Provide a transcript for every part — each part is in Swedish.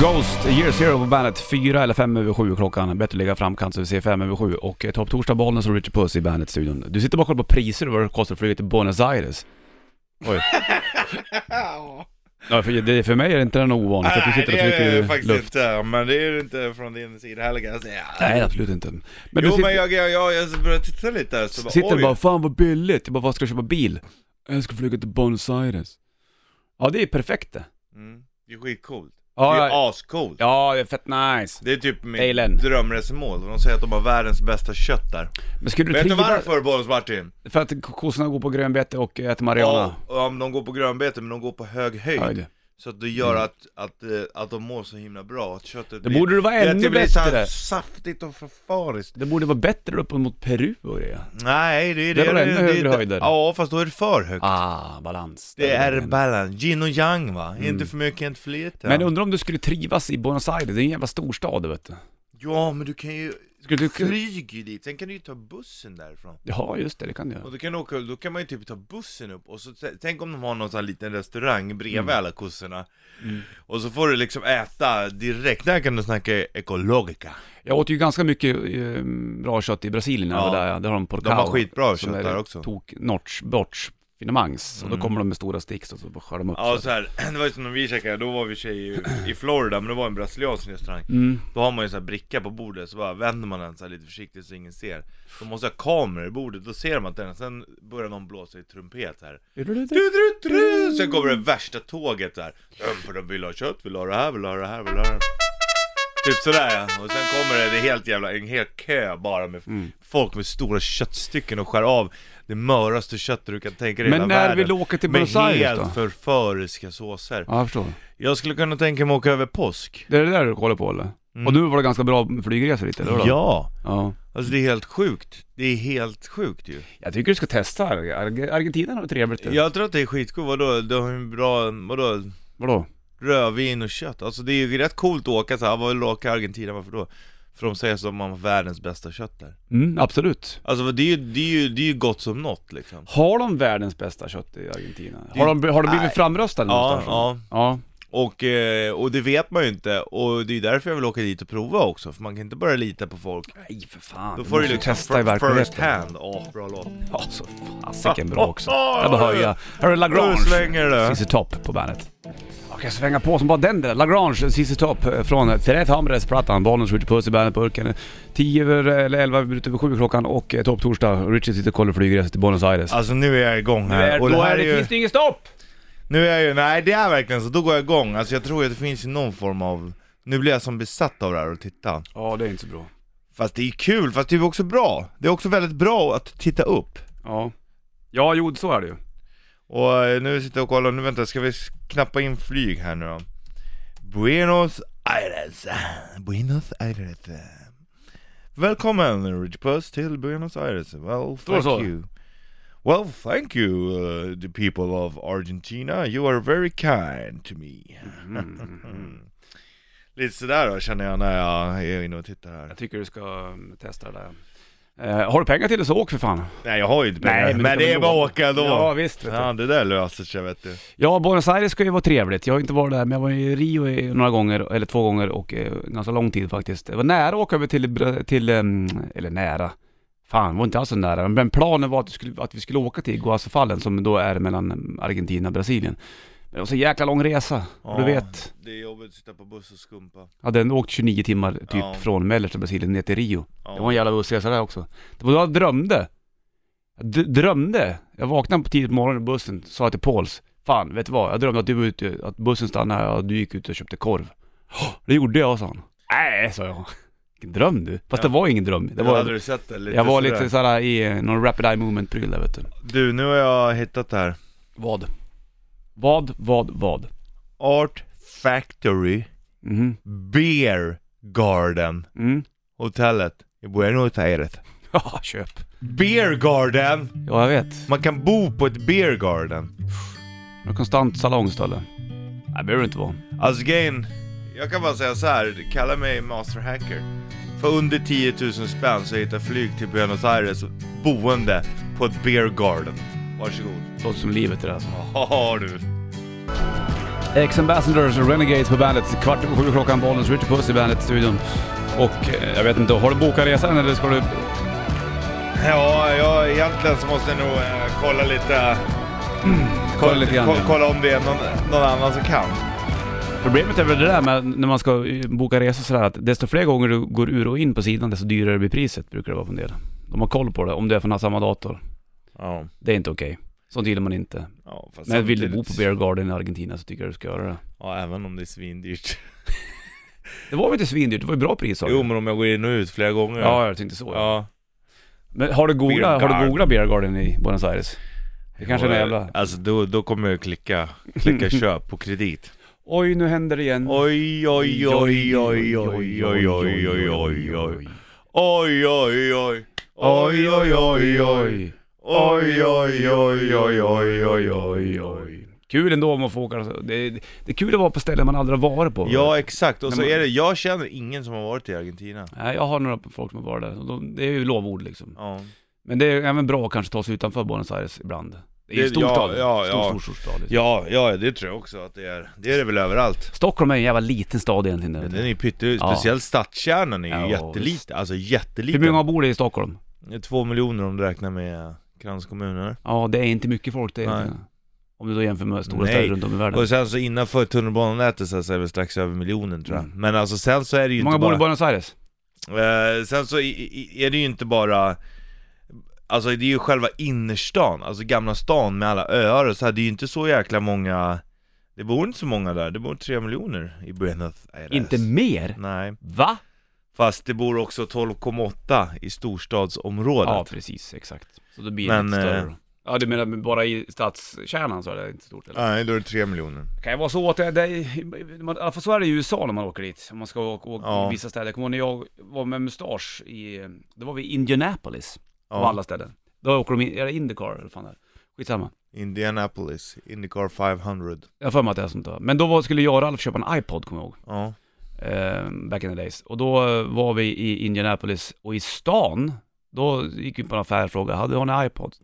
Ghost, Year Zero på bandet. Fyra eller fem över sju klockan. Bättre ligga i framkant så vi ser fem över sju. Och eh, Topp Torsdag, Bollnäs och Richard Puss i bandet-studion. Du sitter bara och kollar på priser och vad det kostar att flyga till Buenos Aires. Oj. Ja, för, det, för mig är det inte något ovanligt att du Nej, sitter och det är det trycker faktiskt luft. inte. Men det är det inte från din sida heller kan jag säga. Nej, absolut inte. Men du jo sitter, men jag, jag, jag, jag började titta lite här så bara, sitter oj. bara 'Fan vad billigt' Jag bara 'Vad ska jag köpa bil?' Jag ska flyga till Buenos Aires. Ja, det är perfekt det. Mm, det är skitcoolt. det Ja, är ja, ascoolt. ja, det är fett nice. Det är typ Alien. mitt drömresmål. De säger att de har världens bästa kött där. Men skulle du Vet du trivas? varför Bonus-Martin? För att kossorna går på grönbete och äter Ja, marijuana. om de går på grönbete men de går på hög höjd. Ja, det. Mm. Så att det gör att, att, eh, att de mår så himla bra, att köttet Det borde det vara det- ännu det blir bättre. Så saftigt och förfariskt. Det borde vara bättre uppåt mot Peru och det. Nej, det är Det det. var ännu är högre inte- höjder. Ja, fast då är det för högt. Ah, balans. Det är balans. balans, yin och yang va? Inte för mycket, inte för lite. Mm. Men undrar om du skulle trivas i Buenos Aires, det är en jävla storstad vet du. Ja, men du kan ju... Skulle du- Du flyger ju dit, sen kan du ju ta bussen därifrån. Ja, just det, det kan du Och göra. då kan, du åka, då kan man ju typ ta bussen upp, och så t- tänk om de har någon sån här liten restaurang bredvid Mm. alla kossorna Och så får du liksom äta direkt, där kan du snacka ekologiska Jag åt ju ganska mycket eh, bra kött i Brasilien när jag Ja. var där, ja. där har de porcao. De har skitbra som kött är där också Mm. Tok, notch, borts, finemangs. Och då kommer de med stora sticks och så bara skär de upp. Ja så. så här, det var ju som när vi käkade, då var vi tjejer i Florida, men det var en brasiliansk restaurang Mm. Då har man ju en sån här bricka på bordet, så bara vänder man den så här lite försiktigt så ingen ser Då måste ha kameror i bordet, då ser man den, sen börjar någon blåsa i trumpet här Du, du, du. Sen kommer det värsta tåget där. Ehm, För de vill ha kött, vill ha det här, vill ha det här, vill ha det här. Typ sådär ja. Och sen kommer det, det är helt jävla, en hel kö bara med Mm. folk med stora köttstycken och skär av det möraste köttet du kan tänka dig i Men när hela världen. vill du åka till Buenos Aires Med då? helt förföriska såser. Ja, jag förstår. Jag skulle kunna tänka mig att åka över påsk. Det är det där du kollar på eller? Och nu var det ganska bra flygresor dit, eller vadå? Mm. Ja. ja. Alltså det är helt sjukt. Det är helt sjukt ju. Jag tycker du ska testa. Ar- Ar- Argentina har det trevligt. Ja. Jag tror att det är skitcoolt. Vadå, du har ju en bra, vadå? Vadå? rödvin och kött. Alltså det är ju rätt coolt att åka såhär, vad vill du åka Argentina, varför då? För de säger att de har världens bästa kött där. Mm, absolut. Alltså det är ju, det är ju, det är ju gott som något liksom. Har de världens bästa kött i Argentina? Har de, har de blivit Nej. framröstade Ja, någonstans? ja. ja. Och, eh, och det vet man ju inte, och det är ju därför jag vill åka dit och prova också, för man kan inte bara lita på folk. Nej för fan. Då får du måste liksom testa i fir- first verkligheten. hand. Åh, bra låt. Ja, så fasiken bra också. Jag bara höja. Här är Nu Lagrange. svänger det. CC Top på bandet. Jag kan svänga på som bara den där. Lagrange, CC Top eh, från Therese Hamres-plattan. Bollen skjuter puss i bandet-burken. 10 över, eh, eller 11 minuter över 7 klockan och eh, topp torsdag. Richard sitter och kollar flygresor till Buenos Aires. Alltså nu är jag igång Nu är, här. Och då det här är är det, ju, finns det inget stopp! nu är jag ju, nej det är verkligen så, då går jag igång. Alltså jag tror att det finns ju någon form av, nu blir jag som besatt av det här och titta. Ja, det är inte så bra. Fast det är kul, fast det är också bra. Det är också väldigt bra att titta upp. Ja. Ja, jo så är det ju. Och eh, nu sitter jag och kollar, nu vänta, ska vi s- knappa in flyg här nu då? Buenos Aires. Buenos Aires. Välkommen Rich Puss till Buenos Aires. Well, Då thank så. you. Well, thank you uh, the people of Argentina. You are very kind to me. Mm. Lite sådär då känner jag när jag är inne och tittar här. Jag tycker du ska um, testa det där. Eh, har du pengar till det så åk för fan. Nej jag har ju inte pengar, Nej, men men, det kan det är man bara lova. att åka då. Ja, visst, vet du. ja det där löser sig vet du. Ja, Buenos Aires ska ju vara trevligt. Jag har inte varit där, men jag var i Rio i- några gånger, eller två gånger och eh, ganska lång tid faktiskt. Det var nära att åka över till, Bra- till ehm, eller nära. Fan, det var inte alls så nära. Men planen var att, det skulle, att vi skulle åka till Guasafallen som då är mellan eh, Argentina och Brasilien. Men det var så jäkla lång resa, och du Ja. vet. Det är jobbigt att sitta på buss och skumpa. Jag hade ändå åkt 29 timmar typ Ja. från mellersta Brasilien ner till Rio. Ja. Det var en jävla bussresa där också. Det var då jag drömde. Jag d- drömde. Jag vaknade på tidigt på morgonen i bussen, sa till Pauls. Fan, vet du vad? Jag drömde att du var ute, att bussen stannade här och du gick ut och köpte korv. "Åh, Det gjorde jag, sa han. Nej, sa jag. Vilken dröm du. Fast det var ingen dröm. Det Det hade var, du sett det? Lite jag var sådär. lite såhär i eh, någon rapid eye movement-pryl där vet du. Du, nu har jag hittat det här. Vad? Vad, vad, vad? Art Factory Mhm. Beer Garden Mm. Hotellet i Buenos Aires. Ja, köp. Beer Garden! Ja, jag vet. Man kan bo på ett beer garden. Har du konstant salongstölle? Nej, behöver du inte vara. Alltså grejen, jag kan bara säga så här. kalla mig master hacker. För under 10 000 spänn så hittar flyg till Buenos Aires boende på ett beer garden. Varsågod. Låter som livet det där alltså. Ja du. Ex Ambassadors och Renegades på bandet. Kvart över sju klockan, Bollnäs, Richard Puss i bandet-studion. Och eh, jag vet inte, har du bokat resan eller ska du... Ja, jag, egentligen så måste jag nog eh, kolla lite... Kolla lite grann. Kolla, kolla om det är någon, någon annan som kan. Problemet är väl det där med när man ska eh, boka resor sådär att desto fler gånger du går ur och in på sidan desto dyrare blir priset brukar det vara på en del. De har koll på det om du är från samma dator. Ja. Det är inte okej. Sånt gillar man inte. ja fast Men vill du bo på samtidigt- Bear Garden i Argentina så tycker jag du ska göra det. Ja, även om det är svindyrt. Det var väl inte svindyrt, det var ju bra pris sa du? Jo, men om jag går in och ut flera gånger. Ja, jag tänkte så. Ja. ja. Men har du googlat, har Beer du Garden. googlat Beer Garden i Buenos Aires? Det kanske är en jävla... Alltså då, då kommer jag klicka, klicka köp på kredit. Oj, nu händer det igen. Oj, oj, oj, oj, oj, oj, oj, oj, oj, oj. Oj, oj, oj. Oj, oj, oj, oj. Oj, oj, oj, oj, oj, oj, oj, oj. Kul ändå om man får åka. alltså, Det, det är kul att vara på ställen man aldrig har varit på. Ja, exakt. Och När så man- är det, jag känner ingen som har varit i Argentina. Nej, jag har några folk som har varit där. Och de- Det är ju lovord liksom. Ja. Men det är även bra att kanske ta sig utanför Buenos Aires ibland. Det är ju Det- en stor ja, stad. ja, stor, ja. stor, stor stad. Liksom. Ja, ja, det tror jag också att det är. Det är det väl överallt. Stockholm är en jävla liten stad egentligen. där, vet Den du. är ju pytte, Ja. speciellt stadskärnan är ju Ja, visst. jätteliten, alltså Hur många jätteliten. bor det i Stockholm? Två miljoner om du räknar med kranskommuner. Ja, det är inte mycket folk det. Nej. Nej. Om du då jämför med stora Nej. städer runt om i världen. Och sen så innanför tunnelbanenätet så är det strax över miljonen tror jag. Men alltså sen så är det ju Hur många inte bor i bara... Buenos Aires? Eh, sen så i- i- är det ju inte bara... Alltså det är ju själva innerstan, alltså gamla stan med alla öar och så här, det är ju inte så jäkla många... Det bor inte så många där, det bor tre miljoner i Buenos Aires. Inte mer? Nej. Va? Fast det bor också 12,8 i storstadsområdet. Ja, precis, exakt. Så då blir det Men, lite större. eh, då. Ja, du menar bara i stadskärnan så är det inte stort eller? Nej, då är det tre miljoner. Kan ju vara så att det, det i alla fall så är det i USA när man åker dit, om man ska åka, åka Ja. i vissa städer. Jag kommer ihåg när jag var med mustasch i, då var vi i Indianapolis, av alla ställen. Då åker de in, är det Indycar eller vad fan det är? Skitsamma. Indianapolis, Indycar 500. Jag har för mig att det är sånt där. Men då var, skulle jag och Ralf köpa en iPod, kommer jag ihåg. Ja. eh, back in the days. Och då eh, var vi i Indianapolis och i stan, då gick vi på en affär och frågade, hade hon en iPod?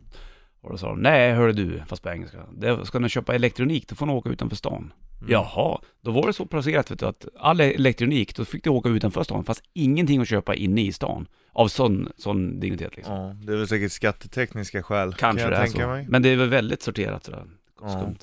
Och då sa de, nej hörru du, fast på engelska, det, ska ni köpa elektronik då får ni åka utanför stan. Mm. Jaha, då var det så placerat vet du, att all e- elektronik, då fick du åka utanför stan, fast ingenting att köpa inne i stan. Av sån, sån dignitet liksom. ja. Det är väl säkert skattetekniska skäl. Kanske kan det jag är tänka så. mig. Men det är väl väldigt sorterat sådär. Ja. Skumt.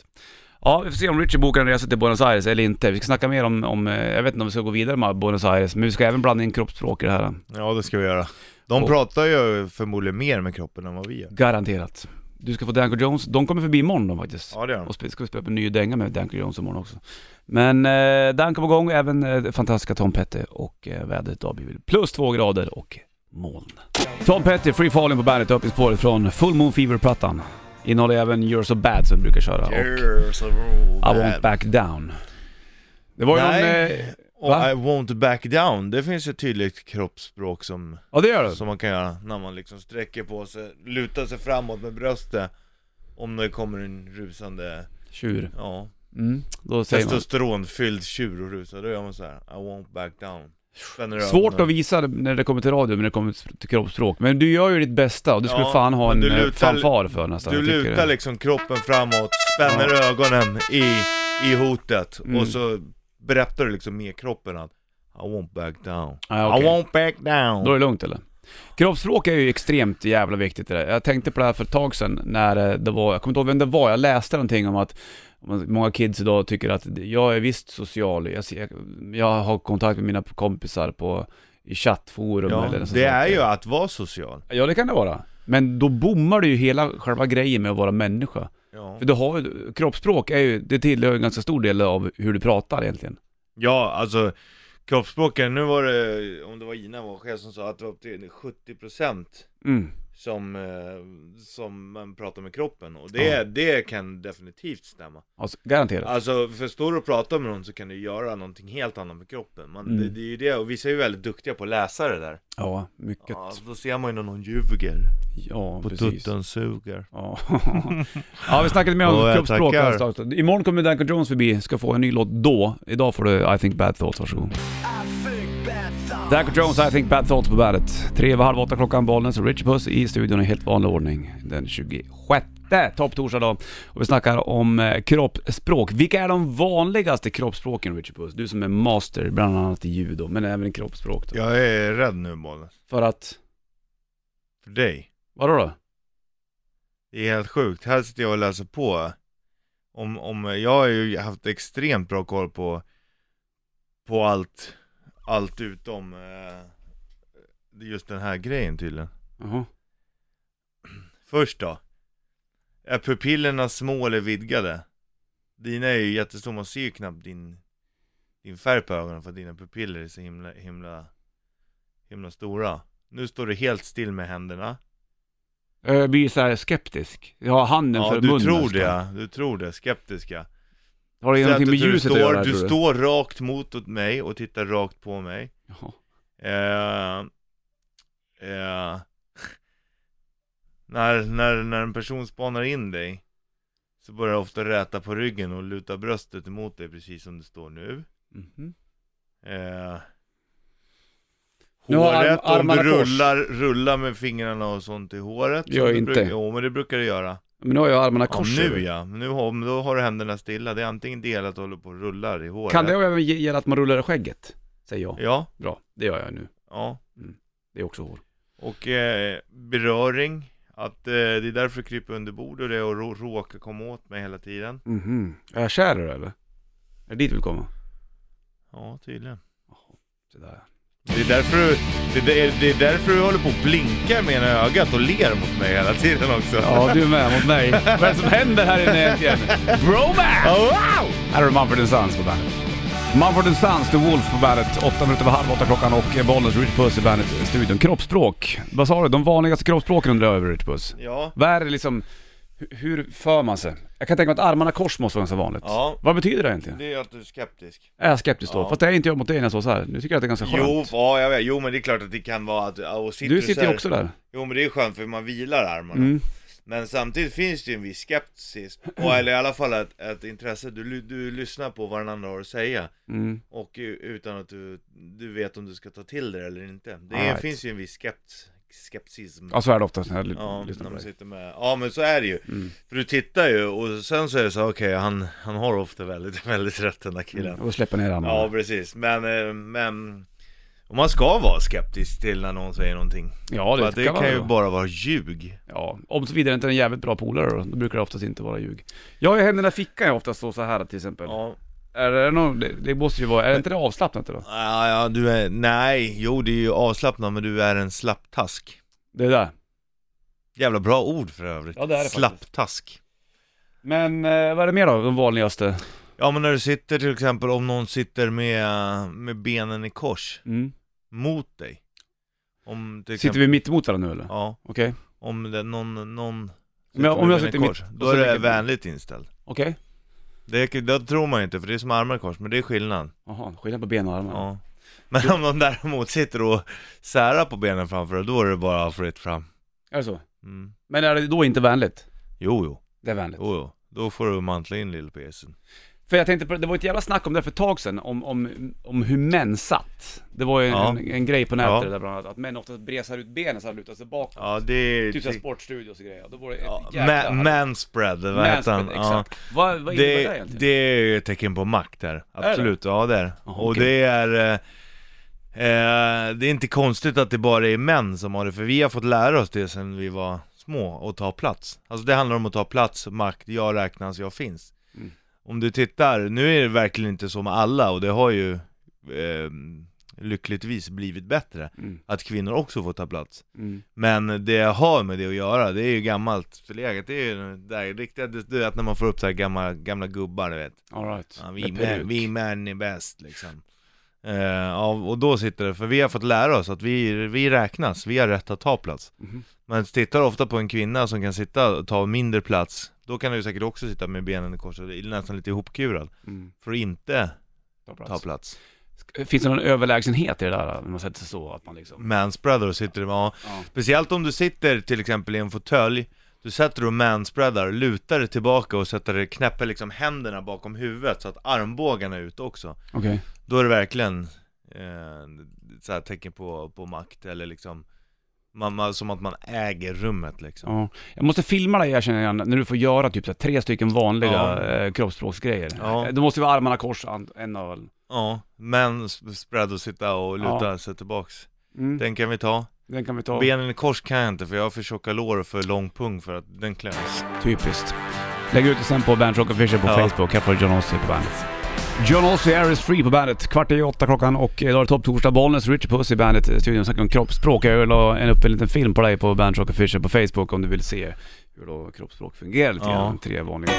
Ja, vi får se om Richie bokar en resa till Buenos Aires eller inte. Vi ska snacka mer om, om eh, jag vet inte om vi ska gå vidare med Buenos Aires, men vi ska även blanda in kroppsspråk i det här. Ja, det ska vi göra. De Och- pratar ju förmodligen mer med kroppen än vad vi gör. Garanterat. Du ska få Danko Jones, de kommer förbi imorgon de faktiskt. Ja, det gör de. Och sp- ska vi spela på en ny dänga med Danko Jones imorgon också. Men eh, Danko på gång, även eh, fantastiska Tom Petty och eh, vädret idag blir väl plus två grader och moln. Tom Petty, Free Falling på bandet, öppningsspåret från Full Moon Fever-plattan. Innehåller även You're So Bad som vi brukar köra och Years of I Won't Back Down. Det var ju någon, eh, Nej, och va? I won't back down. Det finns ju ett tydligt kroppsspråk som, ja det gör det. som man kan göra när man liksom sträcker på sig, lutar sig framåt med bröstet. Om det kommer en rusande, Tjur. ja, Mm, då säger man. testosteronfylld tjur och rusar. Då gör man så här. I won't back down. Spänner Svårt ögonen. att visa när det kommer till radio, men det kommer till kroppsspråk. Men du gör ju ditt bästa och du skulle Ja, fan ha en men du lutar, lutar- fanfar för nästan. Du jag tycker lutar det. liksom kroppen framåt, spänner ögonen i, i hotet Mm. och så berättar du liksom med kroppen att I won't back down. Ja, okej. I won't back down. Då är det lugnt eller? Kroppsspråk är ju extremt jävla viktigt det där. Jag tänkte på det här för ett tag sedan när eh, det var, jag kommer inte ihåg vem det var, jag läste någonting om att många kids idag tycker att jag är visst social, jag, ser- jag har kontakt med mina kompisar på, i chattforum ja, eller något sånt det där. är ju att vara social. Ja det kan det vara. Men då bommar du ju hela själva grejen med att vara människa. Ja. För du har ju, kroppsspråk är ju, det tillhör ju en ganska stor del av hur du pratar egentligen. ja, alltså kroppsspråken, nu var det, om det var Ina var själv som sa att det var upp till 70% Mm. som, eh, som man pratar med kroppen och det, Ja. det kan definitivt stämma. Alltså, garanterat. Alltså för står du och pratar med någon så kan du göra någonting helt annat med kroppen. Man, Mm. det, det är ju det, och vissa är ju väldigt duktiga på att läsa det där. Ja, mycket. Ja, alltså, Ja, då ser man ju när någon ljuger. På precis. tutten suger. Ja. ja, vi snackade mer Ja, om jag kroppsspråk tackar. alldeles strax. Imorgon kommer Danko Jones förbi, ska få en ny låt då. Idag får du I think bad thoughts, varsågod. Danko Jones, I think bad thoughts på bandet. Tre över halv åtta klockan, Bollnäs och Richard Puss i studion i helt vanlig ordning den 26 Där, topptorsdag då. Och vi snackar om eh, kroppsspråk. Vilka är de vanligaste kroppsspråken Richard Puss? Du som är master bland annat i judo, men även i kroppsspråk då. Jag är rädd nu Mollen. För att, För dig. vadå då? Det är helt sjukt. Här sitter jag och läser på. Om, om, jag har ju haft extremt bra koll på, på allt, allt utom eh, just den här grejen tydligen. Jaha. Först då. Är pupillerna små eller vidgade? Dina är ju jättestora, man ser ju knappt din, din färg på ögonen för att dina pupiller är så himla, himla, himla stora. Nu står du helt still med händerna. Jag Eh, blir såhär skeptisk. Jag har handen Ja, för du munnen. tror nästan. det, ja. du tror det, skeptiska. Har det Säg någonting att med du ljuset står, att göra Du tror står rakt mot åt mig och tittar rakt på mig. Jaha. Eh, eh, när, när, när en person spanar in dig så börjar jag ofta räta på ryggen och luta bröstet emot dig precis som det står nu. Mhm. Eh, Nu har arm- håret, om armarna du kors. rullar, rullar med fingrarna och sånt i håret. Gör som du inte. brukar- Jo, men det brukar du göra. Men nu har jag armarna Ja, kors över. nu ja, nu har, men då har du händerna stilla. Det är antingen delat och håller på och rullar i håret. Kan det även ge gälla att man rullar i skägget? Säger jag. Ja, Bra, det gör jag nu. ja. Det är också hår. Och eh, beröring. Att eh, det är därför jag kryper under bordet och det och rå- råkar komma åt mig hela tiden. Mhm. Är jag kär i det, eller? Är det dit du vill komma? Ja, tydligen. Sådär. Det är därför du, det är, det är därför du håller på och blinkar med ena ögat och ler mot mig hela tiden också. Ja, du är med mot mig. Vad är det som händer här inne egentligen? Bromance! Oh, wow! Här har du Mumford Sons på bandet. Mumford Sons, The Wolf på bandet. Åtta minuter över halv åtta klockan och Bollnäs, Rich Puss i bandet-studion. Kroppsspråk. Vad sa du? De vanligaste kroppsspråken undrar jag över, Rich Puss. Ja, Vad är det liksom, hu- hur för man sig? Jag kan tänka mig att armarna kors måste vara ganska vanligt. Ja. Vad betyder det egentligen? det är att du är skeptisk. Är jag skeptisk då? Ja. Fast det är inte jag mot dig när jag står så här. Nu tycker jag att det är ganska skönt. Jo, ja, jag vet. jo, men det är klart att det kan vara att... ja, Och sitter du sitter så ju här- också där. Jo, men det är skönt för man vilar armarna. Mm. Men samtidigt finns det ju en viss skepsis, och, eller i alla fall ett, ett intresse, du, ly- du lyssnar på vad den andra har att säga Mm. Och u- utan att du, du vet om du ska ta till det eller inte Det är, Alright. finns ju en viss skept, skepsism Ja så är det ofta när jag l- Ja, lyssnar när på man dig. sitter med, ja men så är det ju. Mm. För du tittar ju och sen så är det så, okej han, han har ofta väldigt, väldigt rätt den där killen. Och släpper ner armarna. Ja Ja. precis, men, eh, men och man ska vara skeptisk till när någon säger någonting. För det, att det kan, kan, man ju vara. bara vara ljug. Ja, om såvida det inte är en jävligt bra polare då, då brukar det oftast inte vara ljug. Jag har ju händerna i fickan jag oftast står så här till exempel. Ja. Är det, någon, det, det måste ju vara, är det inte det avslappnat då? Ja, ja, du är, nej, jo det är ju avslappnat men du är en slapptask. Det där. Jävla bra ord för övrigt. Ja, det är det slapptask. Men eh, vad är det mer då, de vanligaste? Ja men när du sitter till exempel, om någon sitter med, med benen i kors Mm. mot dig. Om till Sitter exempel, vi mitt emot varandra nu eller? Ja, Okej. om det, någon, någon Men om med jag benen sitter i mitt- kors, och då så är det ligger- vänligt inställd. Okej. Det, är- det tror man inte för det är som armar i kors, men det är skillnad. Jaha, skillnad på ben och armar. Ja. Men om de däremot sitter och särar på benen framför dig, då är det bara fritt fram. Är det så? Mm. Men är det då inte vänligt? Jo, jo, Det är vänligt. jo, jo. Då får du mantla in lille pjäsen. För jag tänkte på, det var ett jävla snack om det här för ett tag sedan, om, om, om hur män satt. Det var ju en, Ja. en, en grej på nätet Ja. det där bland annat, att män oftast bresar ut benen så här lutar sig bakåt. Ja, det är... Typ såhär sportstudios och grejer. Då var det ett ja, jäkla... ma- manspread, vad heter han? Manspread, Ja. exakt. Vad, vad innebär det, det, egentligen? det är ju ett tecken på makt där, det? absolut, ja det är det. Jaha, Och okej. det är... eh, Eh, det är inte konstigt att det bara är män som har det, för vi har fått lära oss det sen vi var små, och ta plats. Alltså det handlar om att ta plats, makt, jag räknas, jag finns. Mm. Om du tittar, nu är det verkligen inte så med alla, och det har ju eh, lyckligtvis blivit bättre, Mm, att kvinnor också får ta plats. mm. Men det jag har med det att göra, det är ju gammalt förlegat, det är ju det där riktiga, du vet när man får upp så här gamla, gamla gubbar du vet All right. Ja, vi, Med män, peruk. vi män är bäst liksom. Eh, ja, och då sitter det, för vi har fått lära oss att vi, vi räknas, vi har rätt att ta plats. Mhm. Man tittar ofta på en kvinna som kan sitta och ta mindre plats, då kan du säkert också sitta med benen i kors, och nästan lite ihopkurad, Mm. för att inte Ta ta plats. plats. Sk- Finns det någon överlägsenhet i det där, när man sätter sig så att man liksom... Manspreader och sitter med, ja. Ja. Speciellt om du sitter till exempel i en fåtölj, du sätter dig och manspreadar, lutar dig tillbaka och sätter dig, knäpper liksom händerna bakom huvudet så att armbågarna är ute också. Okej. Då är det verkligen eh, så här tecken på, på makt eller liksom Man, man, som att man äger rummet liksom. Ja. Jag måste filma dig jag känner igen, när du får göra typ så här, tre stycken vanliga Ja. eh, kroppsspråksgrejer. Ja. Eh, Då måste vi ha armarna kors, an- en av Ja, men sp- spread och sitta och luta sig tillbaks. mm. den, Den kan vi ta. kan vi ta. Benen i kors kan jag inte för jag har för tjocka lår och för lång pung för att den kläms. Typiskt. Lägg ut det sen på Bandrock Official på Ja. Facebook. Här får du John Ossie på bandet. John Ossie, Air is free på bandet. Kvart i åtta klockan och idag är det topptorsdag. Bollnäs, Richard Puss i bandet. eh, Studion snackar om kroppsspråk. Jag la en- upp en liten film på dig på Bandrock Official på Facebook om du vill se hur då kroppsspråk fungerar lite Ja. grann. Tre vanliga.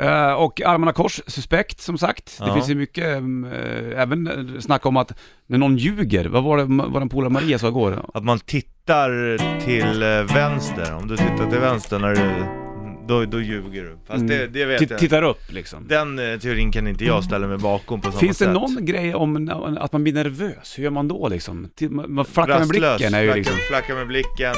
Eh, och armarna kors, suspekt som sagt. Det Ja. finns ju mycket, mm, eh, även eh, snack om att när någon ljuger, vad var det vad den polare Maria sa igår? Att man tittar till eh, vänster, om du tittar till vänster när du, då, då ljuger du. Fast Mm. det, det vet Titt- jag. Tittar upp liksom. Den eh, teorin kan inte jag ställa mig bakom på samma Finns sätt. det någon grej om na- att man blir nervös? Hur gör man då liksom? Till- Man man flackar med Rastlös, blicken är ju flackar- liksom... flackar med blicken,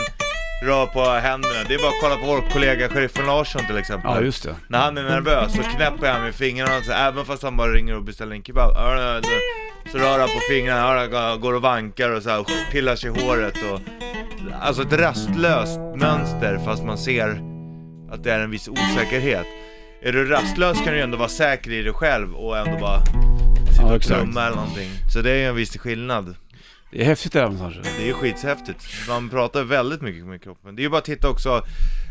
rör på händerna. Det är bara att kolla på vår kollega sheriffen Larsson till exempel. Ja, just det. När han är nervös så knäpper han med fingrarna så även fast han bara ringer och beställer en kebab Så rör han på fingrarna, går och vankar och så här, pillar sig i håret och Alltså ett rastlöst mönster fast man ser att det är en viss osäkerhet Är du rastlös kan du ju ändå vara säker i dig själv och ändå bara sitta Ja, och exakt. trumma eller någonting Så det är ju en viss skillnad Det är häftigt det där någonstans. det är skitshäftigt. Man pratar väldigt mycket med kroppen. Det är ju bara att titta också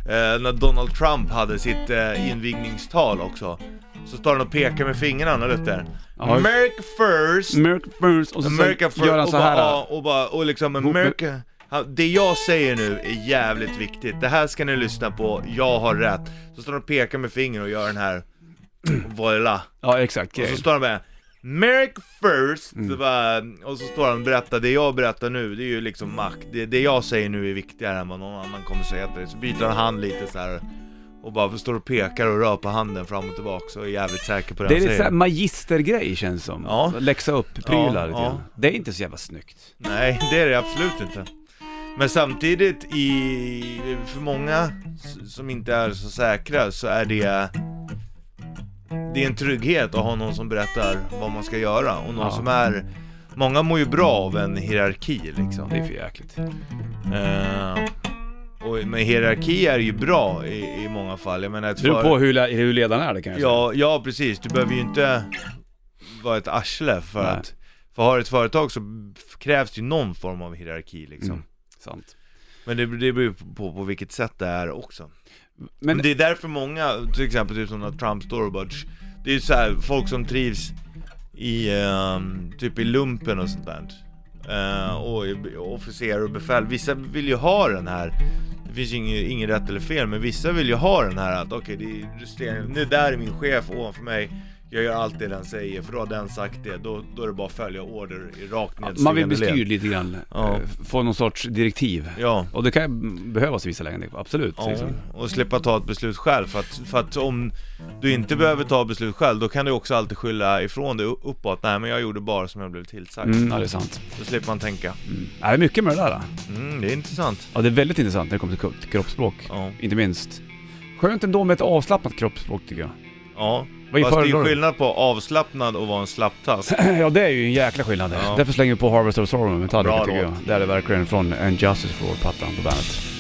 eh, när Donald Trump hade sitt eh, invigningstal också. Så står han och pekar med fingrarna, eller där. Ja. America first, America first och så, America så first, gör han och, så bara, här. ja, och, bara, och liksom med- America. Han- Det jag säger nu är jävligt viktigt. Det här ska ni lyssna på, jag har rätt. Så står han och pekar med fingret och gör den här, voila. Ja, exakt. Och så grejen. står han med Merrick first, Mm. så bara, och så står han och berättar, det jag berättar nu det är ju liksom Mm. makt, det, det jag säger nu är viktigare än vad någon annan kommer säga till dig. Så byter han hand lite så här och bara står och pekar och rör på handen fram och tillbaka och är jävligt säker på det, Det är han lite säger. såhär magistergrej känns som. Ja. Läxa upp prylar Ja, lite ja. grann. Det är inte så jävla snyggt. Nej, det är det absolut inte. Men samtidigt, i, för många s- som inte är så säkra så är det Det är en trygghet att ha någon som berättar vad man ska göra och någon Ja. som är Många mår ju bra av en hierarki liksom. Det är för jäkligt. Eh, och, men hierarki är ju bra i, i många fall. Jag menar, ett Det beror före- på hur, le- hur ledaren är det kan jag säga. Ja, ja precis. Du behöver ju inte vara ett arsle för Nej. att för att ha ett företag så krävs det ju någon form av hierarki liksom. Mm. Sant. Men det, det beror ju på, på vilket sätt det är också. Men, Men det är därför många, till exempel typ som när Trump står och bara, "Tsch." Det är ju så här, folk som trivs i, ehm, typ i lumpen och sånt där. Eh, och i- och officerare och befäl, vissa vill ju ha den här det finns ju ingen, ingen rätt eller fel, men vissa vill ju ha den här att okej, det är- du ser- nu där är min chef ovanför mig, jag gör allt det den säger, för då har den sagt det, då, då är det bara att följa order i rakt nedstigande man vill bli led. styrd lite grann. Ja. Eh, Få någon sorts direktiv. Ja. Och det kan ju behövas i vissa lägen, absolut. Ja, Liksom. och slippa ta ett beslut själv för att, för att om du inte behöver ta beslut själv då kan du också alltid skylla ifrån dig uppåt. Nej men jag gjorde bara som jag blev tillsagd. Mm, ja, det är sant. Då slipper man tänka. Ja, det är mycket med det där. då. Mm, det är intressant. Ja, det är väldigt intressant när det kommer till kro- kroppsspråk. Ja. Inte minst. Skönt ändå med ett avslappnat kroppsspråk tycker jag. ja. Vad Fast det är ju föredrar du? skillnad på avslappnad och vara en slapptass. ja, det är ju en jäkla skillnad. Ja. Därför slänger vi på Harvest of Sorrow med Metallica Bra tycker jag. låt. Det är det verkligen från And Justice for All-plattan på bandet.